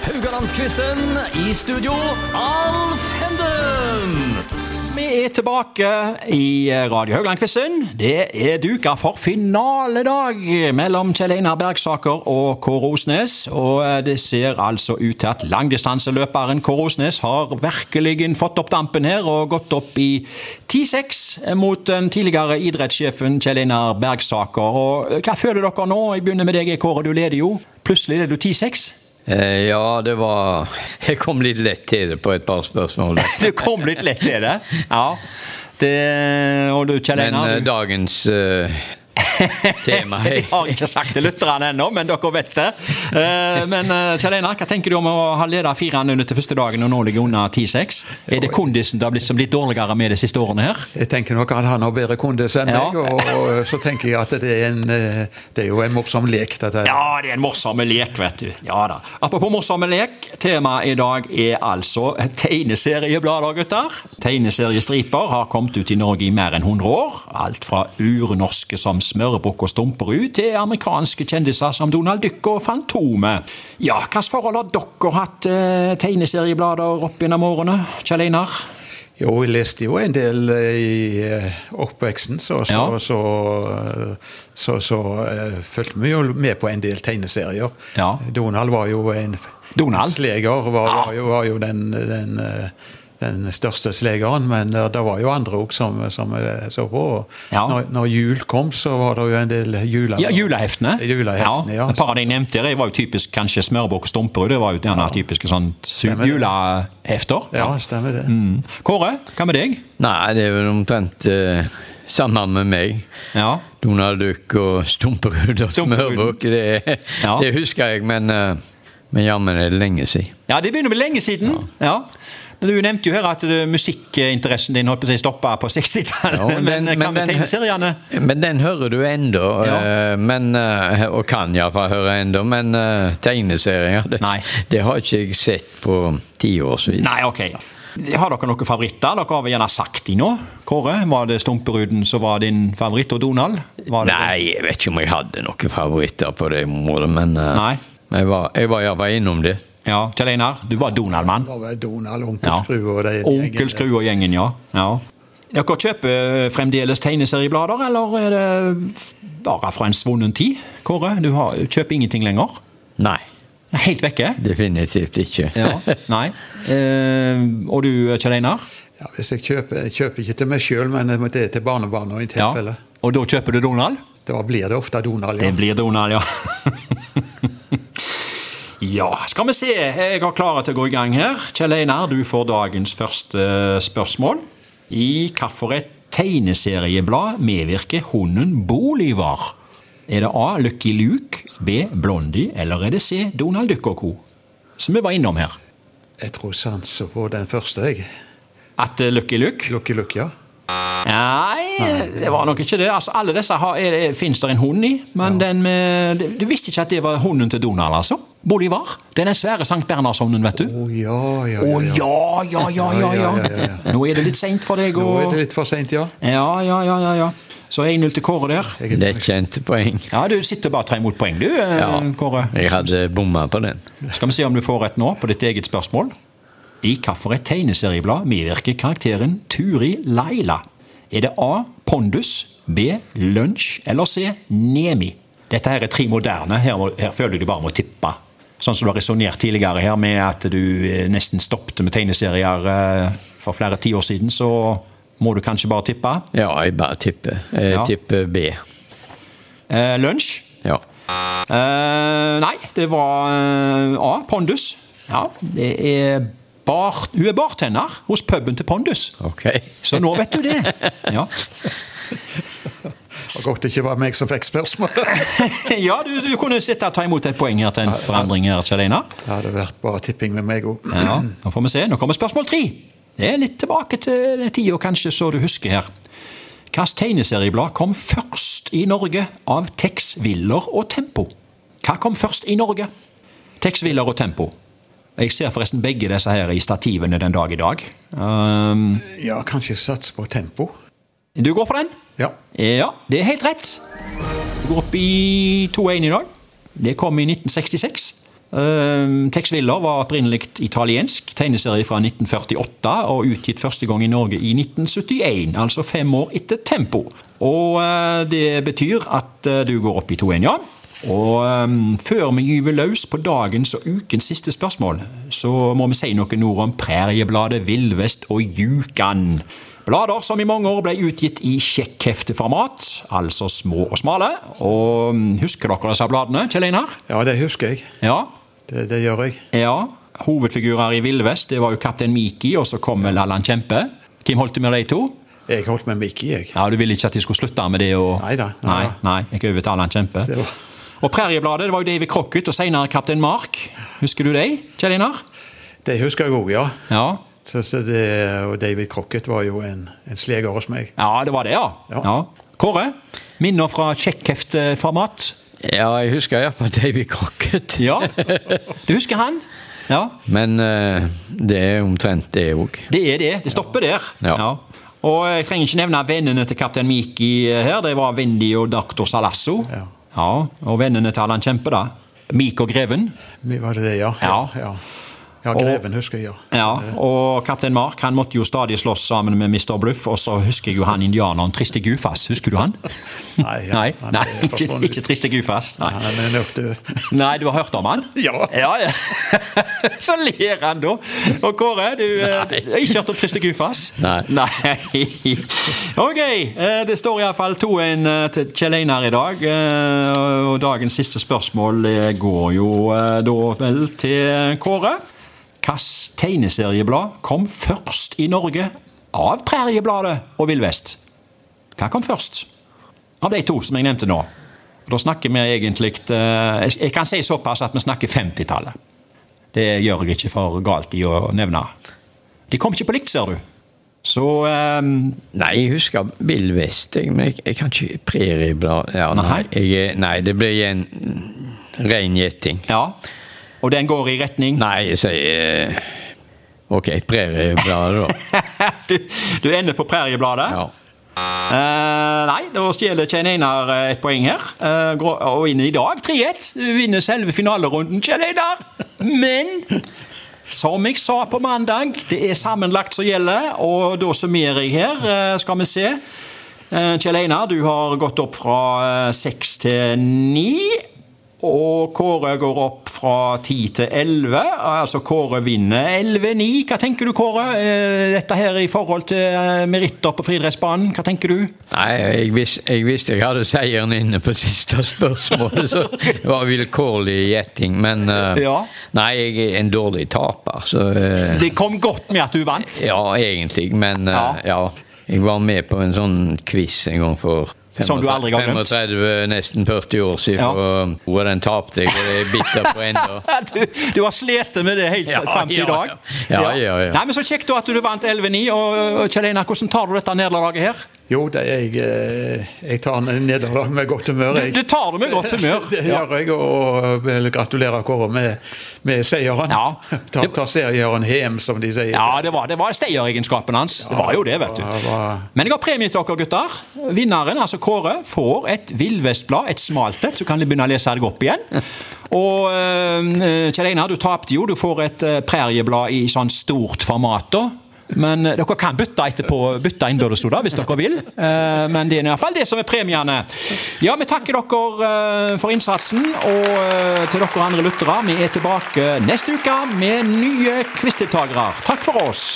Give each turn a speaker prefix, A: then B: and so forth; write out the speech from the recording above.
A: Rogalandsquizen i studio, Alf Henden!
B: Vi er tilbake i eh, Radio Haugland-quizen. Det er duka for finaledag mellom Kjell Einar Bergsaker og Kåre Osnes. Og det ser altså ut til at langdistanseløperen Kåre Osnes har virkelig fått opp dampen her og gått opp i 10-6 mot den tidligere idrettssjefen Kjell Einar Bergsaker. Og eh, hva føler dere nå? Jeg begynner med deg, Kåre. Du leder jo. Plutselig leder du 10-6.
C: Eh, Ja, det var Jeg kom litt lett til det på et par spørsmål.
B: Du kom litt lett til det. Ja. Det, og du, Kjell
C: Men
B: Einar
C: eh,
B: du-
C: dagens eh, tema eh,
B: Jeg har ikke sagt til lytterne ennå, men dere vet det. Eh, Men eh, Kjell Einar, hva tenker du om å ha ledet 4-0 til første dagen og nå ligger under 10-6? Er det kondisen det har blitt som blitt dårligere med de siste årene her?
D: Jeg tenker nok at han har bedre kondis enn
B: Ja.
D: meg, og, og så tenker jeg at det er, en, eh, det er jo en morsom lek, dette. her.
B: Ja, det er en morsom lek, vet du. Ja da. Apropos morsomme lek, temaet i dag er altså tegneserieblader, gutter. Tegneseriestriper har kommet ut i Norge i mer enn 100 år. Alt fra urnorske som Smørbukk og Stumperud, til amerikanske kjendiser som Donald Duck og Fantomet. Ja, hvilket forhold har dere hatt eh, tegneserieblader opp gjennom årene, Kjell Einar?
D: Jo, jeg leste jo en del eh, i eh, oppveksten, så, så,
B: Ja.
D: så, eh, så, så eh, fulgte vi jo med på en del tegneserier.
B: Ja.
D: Donald var jo en
B: Donald? Ah.
D: sleger, var,
B: Ja.
D: var, jo, var jo den, den, eh, den største slegeren, men eh, det var jo andre òg som, som eh, så på. og
B: Ja.
D: Når, når jul kom, så var det jo en del jule...
B: Ja, Juleheftene.
D: Juleheftene, ja.
B: Et par av de jeg nevnte her, jeg var jo typisk kanskje Smørbukk og Stumperud. Det var jo gjerne typiske sånt
D: Stemmer det.
B: julehefter.
D: Ja, stemmer det.
B: Mm. Kåre, hva med deg?
C: Nei, det er vel omtrent eh, samme med meg.
B: Ja.
C: Donald Duck og Stumperud og
B: Stumperud.
C: Smørbukk. Det,
B: Ja.
C: det husker jeg, men, eh, men jammen er det lenge siden.
B: det begynner med lenge siden. Ja. Men Du nevnte jo her at eh, musikkinteressen din holdt på å si stoppa på 60-tallet.
C: Ja, men den-
B: men eh, hva
C: men
B: med
C: den-
B: tegneseriene?
C: Men den hører du ennå,
B: Ja.
C: eh, men, eh, og kan iallfall høre ennå, men eh, tegneserier det,
B: Nei.
C: det har ikke jeg sett på tiårsvis.
B: Nei, ok. Har dere noen favoritter? Dere har vel gjerne sagt de nå? Kåre, var det Stumperuden som var din favoritt, og Donald? Var det
C: Nei, jeg vet ikke om jeg hadde noen favoritter på det området, men eh,
B: Nei.
C: jeg var, jeg var iallfall innom det.
B: Ja, Kjell Einar, du var Donald-mann.
D: Det var vel Donald, Onkel
B: Ja.
D: Skru og de
B: Onkel Skru og gjengen, ja. ja. Dere kjøper eh, fremdeles tegneserieblader, eller er det f- bare fra en svunnen tid? Kåre, du har, kjøper ingenting lenger?
C: Nei,
B: Helt vekke?
C: definitivt ikke.
B: Ja, nei. Eh, og du, Kjell Einar?
D: Ja, hvis jeg kjøper, jeg kjøper ikke til meg sjøl, men det er til barnebarna i
B: Ja.
D: tilfelle.
B: Og da kjøper du Donald?
D: Da blir det ofte Donald.
B: Det
D: Ja.
B: blir Donald, ja. ja, skal vi se. Jeg har klare til å gå i gang her. Kjell Einar, du får dagens første eh, spørsmål. I hvilket tegneserieblad medvirker hunden Bolivar? Er det A. Lucky Luke, B. Blondie, eller er det C. Donald Duck og co.? Som vi var innom her.
D: Jeg tror sanser på den første, jeg.
B: At eh, Lucky Luke
D: Lucky Luke, ja.
B: Nei, det var nok ikke det. Altså, alle disse har, er, er, finnes det en hund i, men den med, du- Du visste ikke at det var hunden til Donald, altså? Bolivar? Det er den svære Sankt Bernhardshunden, vet du.
D: Å ja, ja,
B: Å
D: ja. ja.
B: ja, ja, ja, ja,
D: Ja, ja, ja,
B: ja. Nå er det litt seint for deg
D: Nå er
B: å
D: det litt for seint, ja.
B: Ja, ja, ja, ja. ja. Så 1-0 til Kåre der.
C: Det er et kjent poeng.
B: Ja, du sitter bare og tar imot poeng, du, eh,
C: Ja,
B: Kåre.
C: jeg hadde bomma på den.
B: Skal vi se om du får rett nå på ditt eget spørsmål? I hvilket tegneserieblad medvirker karakteren Turi Laila? Er det A. Pondus, B. Lunsj eller C. Nemi? Dette her er tre moderne. Her, må, her føler jeg du bare må tippe. Sånn som du har resonnert tidligere her med at du eh, nesten stoppet med tegneserier eh, for flere tiår siden, så må du kanskje bare tippe.
C: Ja, jeg bare tipper. Jeg
B: Ja.
C: tipper B.
B: Eh, lunsj?
C: Ja.
B: Eh, nei, det var eh, A. Pondus. Ja, det er bar, Hun er bartender hos puben til Pondus.
C: Ok.
B: Så nå vet du det. Ja,
D: Det var godt det ikke var meg som fikk spørsmål.
B: ja du, du kunne sitte og ta imot et poeng her til en forandring her, Kjell Einar.
D: Det hadde vært bare tipping med meg òg.
B: Ja, nå får vi se. Nå kommer spørsmål tre. Det er litt tilbake til den tida kanskje så du husker her. Hvilket tegneserieblad kom først i Norge av Tex Willer og Tempo? Hva kom først i Norge? Tex Willer og Tempo. Jeg ser forresten begge disse her i stativene den dag i dag. Ehm,
D: Ja, kanskje satse på tempo.
B: du går for den?
D: Ja.
B: Ja, det er helt rett. Du går opp i 2-1 i dag. Det kom i 1966. Eh, Tex Willer var opprinnelig italiensk, tegneserie fra 1948 og utgitt første gang i Norge i 1971, altså fem år etter Tempo. Og eh, det betyr at eh, du går opp i 2-1, ja. Og eh, før vi gyver løs på dagens og ukens siste spørsmål, så må vi si noen ord om Præriebladet, Villvest og Jukan. Blader som i mange år ble utgitt i sjekkhefteformat, altså små og smale. Og mm, husker dere disse bladene, Kjell Einar?
D: Ja, det husker jeg.
B: Ja,
D: Det, det gjør jeg.
B: ja. Hovedfigurer i Villvest det var jo Kaptein Miki, og så kom vel Allan Kjempe. Hvem holdt det med de to?
D: Jeg holdt med Mickey, jeg.
B: Ja, Du ville ikke at de skulle slutte med det? Og...
D: Neida,
B: Nei,
D: neida.
B: nei, jeg er over til Allan Kjempe.
D: Det var-
B: Og Præriebladet det var jo David Crocket og senere Kaptein Mark. Husker du dem, Kjell Einar?
D: Det husker jeg òg, ja.
B: Ja.
D: Så, så det, og David Crocket var jo en, en sleger hos meg.
B: ja, det var det, ja.
D: Ja.
B: Kåre? Minner fra sjekkhefteformat?
C: Ja, jeg husker iallfall Davy Crocket.
B: Ja. Du husker han? Ja.
C: Men eh, det er omtrent det òg.
B: Det er det. Det stopper der.
C: Ja.
B: Og jeg trenger ikke nevne vennene til kaptein Miki her. Det var Wendy og doktor Salasso.
D: Ja.
B: Og vennene til Allan Kjempe, da. Mik og Greven.
D: Vi Var det det, ja?
B: Ja.
D: Ja, ja Greven husker jeg, ja.
B: Ja, Og kaptein Mark han måtte jo stadig slåss sammen med Mr. Bluff, og så husker jeg jo han indianeren Triste Gufas. Husker du han?
D: Nei, ja.
B: Nei,
D: Han
B: Nei
D: er
B: ikke,
D: forsvunnet.
B: ikke Triste Gufas. Nei.
D: Han er nok død.
B: Nei, du har hørt om han?
D: Ja.
B: ja, ja. Så ler han, da. Og Kåre, du eh, har ikke hørt om Triste Gufas?
C: Nei.
B: Nei. Ok, eh, det står iallfall 2-1 eh, til Kjell Einar i dag. eh, Og dagens siste spørsmål eh, går jo eh, da vel til Kåre. Hvilket tegneserieblad kom først i Norge av Præriebladet og Villvest? Hva kom først? Av de to som jeg nevnte nå. Da snakker vi egentlig eh, Jeg jeg kan si såpass at vi snakker 50-tallet. Det gjør jeg ikke for galt i å nevne. De kom ikke på likt, ser du. Så eh,
C: Nei, jeg husker Bill West, jeg, men jeg, jeg kan ikke Prærieblad ja,
B: Nei.
C: jeg er- nei, det blir en ren gjetting.
B: Ja. Og den går i retning
C: Nei, jeg sier eh, Ok, Prærieblad, da.
B: du, du ender på Præriebladet.
C: Ja.
B: Eh, nei, da stjeler Kjell Einar eh, et poeng her. Eh, grå- og vinner i dag 3-1. Du Vinner selve finalerunden, Kjell Einar. Men som jeg sa på mandag, det er sammenlagt som gjelder, og da summerer jeg her. eh, skal vi se. Eh, Kjell Einar, du har gått opp fra eh, seks til ni. Og Kåre går opp fra 10 til 11. Altså Kåre vinner 11-9. Hva tenker du, Kåre? Eh, Dette her i forhold til eh, meritter på friidrettsbanen, hva tenker du?
C: Nei, jeg, vis, jeg visste jeg hadde seieren inne på siste spørsmålet, så det var vilkårlig gjetting. Men eh,
B: Ja.
C: nei, jeg er en dårlig taper, så eh,
B: Det kom godt med at du vant.
C: Ja, egentlig, men eh,
B: Ja.
C: ja. Jeg var med på en sånn quiz en gang for
B: Som du aldri har glemt.
C: 35, nesten 40 år siden,
B: Ja.
C: og, og den tapte jeg, og jeg er bitter på ennå.
B: Du, du har slitt med det helt
C: Ja,
B: frem til i
C: ja,
B: dag.
C: ja. Ja, ja, ja.
B: Nei, men Så kjekt da at du vant 11-9. Og Kjell Einar, hvordan tar du dette nederlaget her?
D: Jo, det, jeg, eh, jeg tar en nederlag med godt humør, jeg.
B: Du tar det med godt humør.
D: Det gjør jeg, og vil gratulere Kåre med, med seieren.
B: Ja.
D: Ta, ta serieren hjem, som de sier.
B: Ja, det var, det var steieregenskapen hans. Det var jo det, vet du.
D: Ja, det var-
B: Men jeg har premie til dere, gutter. Vinneren, altså Kåre, får et villvestblad, et smalt et, så kan de begynne å lese deg opp igjen. Og eh, Kjell Einar, du tapte jo. Du får et eh, prærieblad i sånn stort format, da. Men eh, dere kan bytte etterpå, bytte innbyrdes, da, hvis dere vil. Eh, men det er i hvert fall det som er premiene. Ja, vi takker dere eh, for innsatsen. Og eh, til dere andre lyttere, vi er tilbake neste uke med nye quizdeltakere. Takk for oss.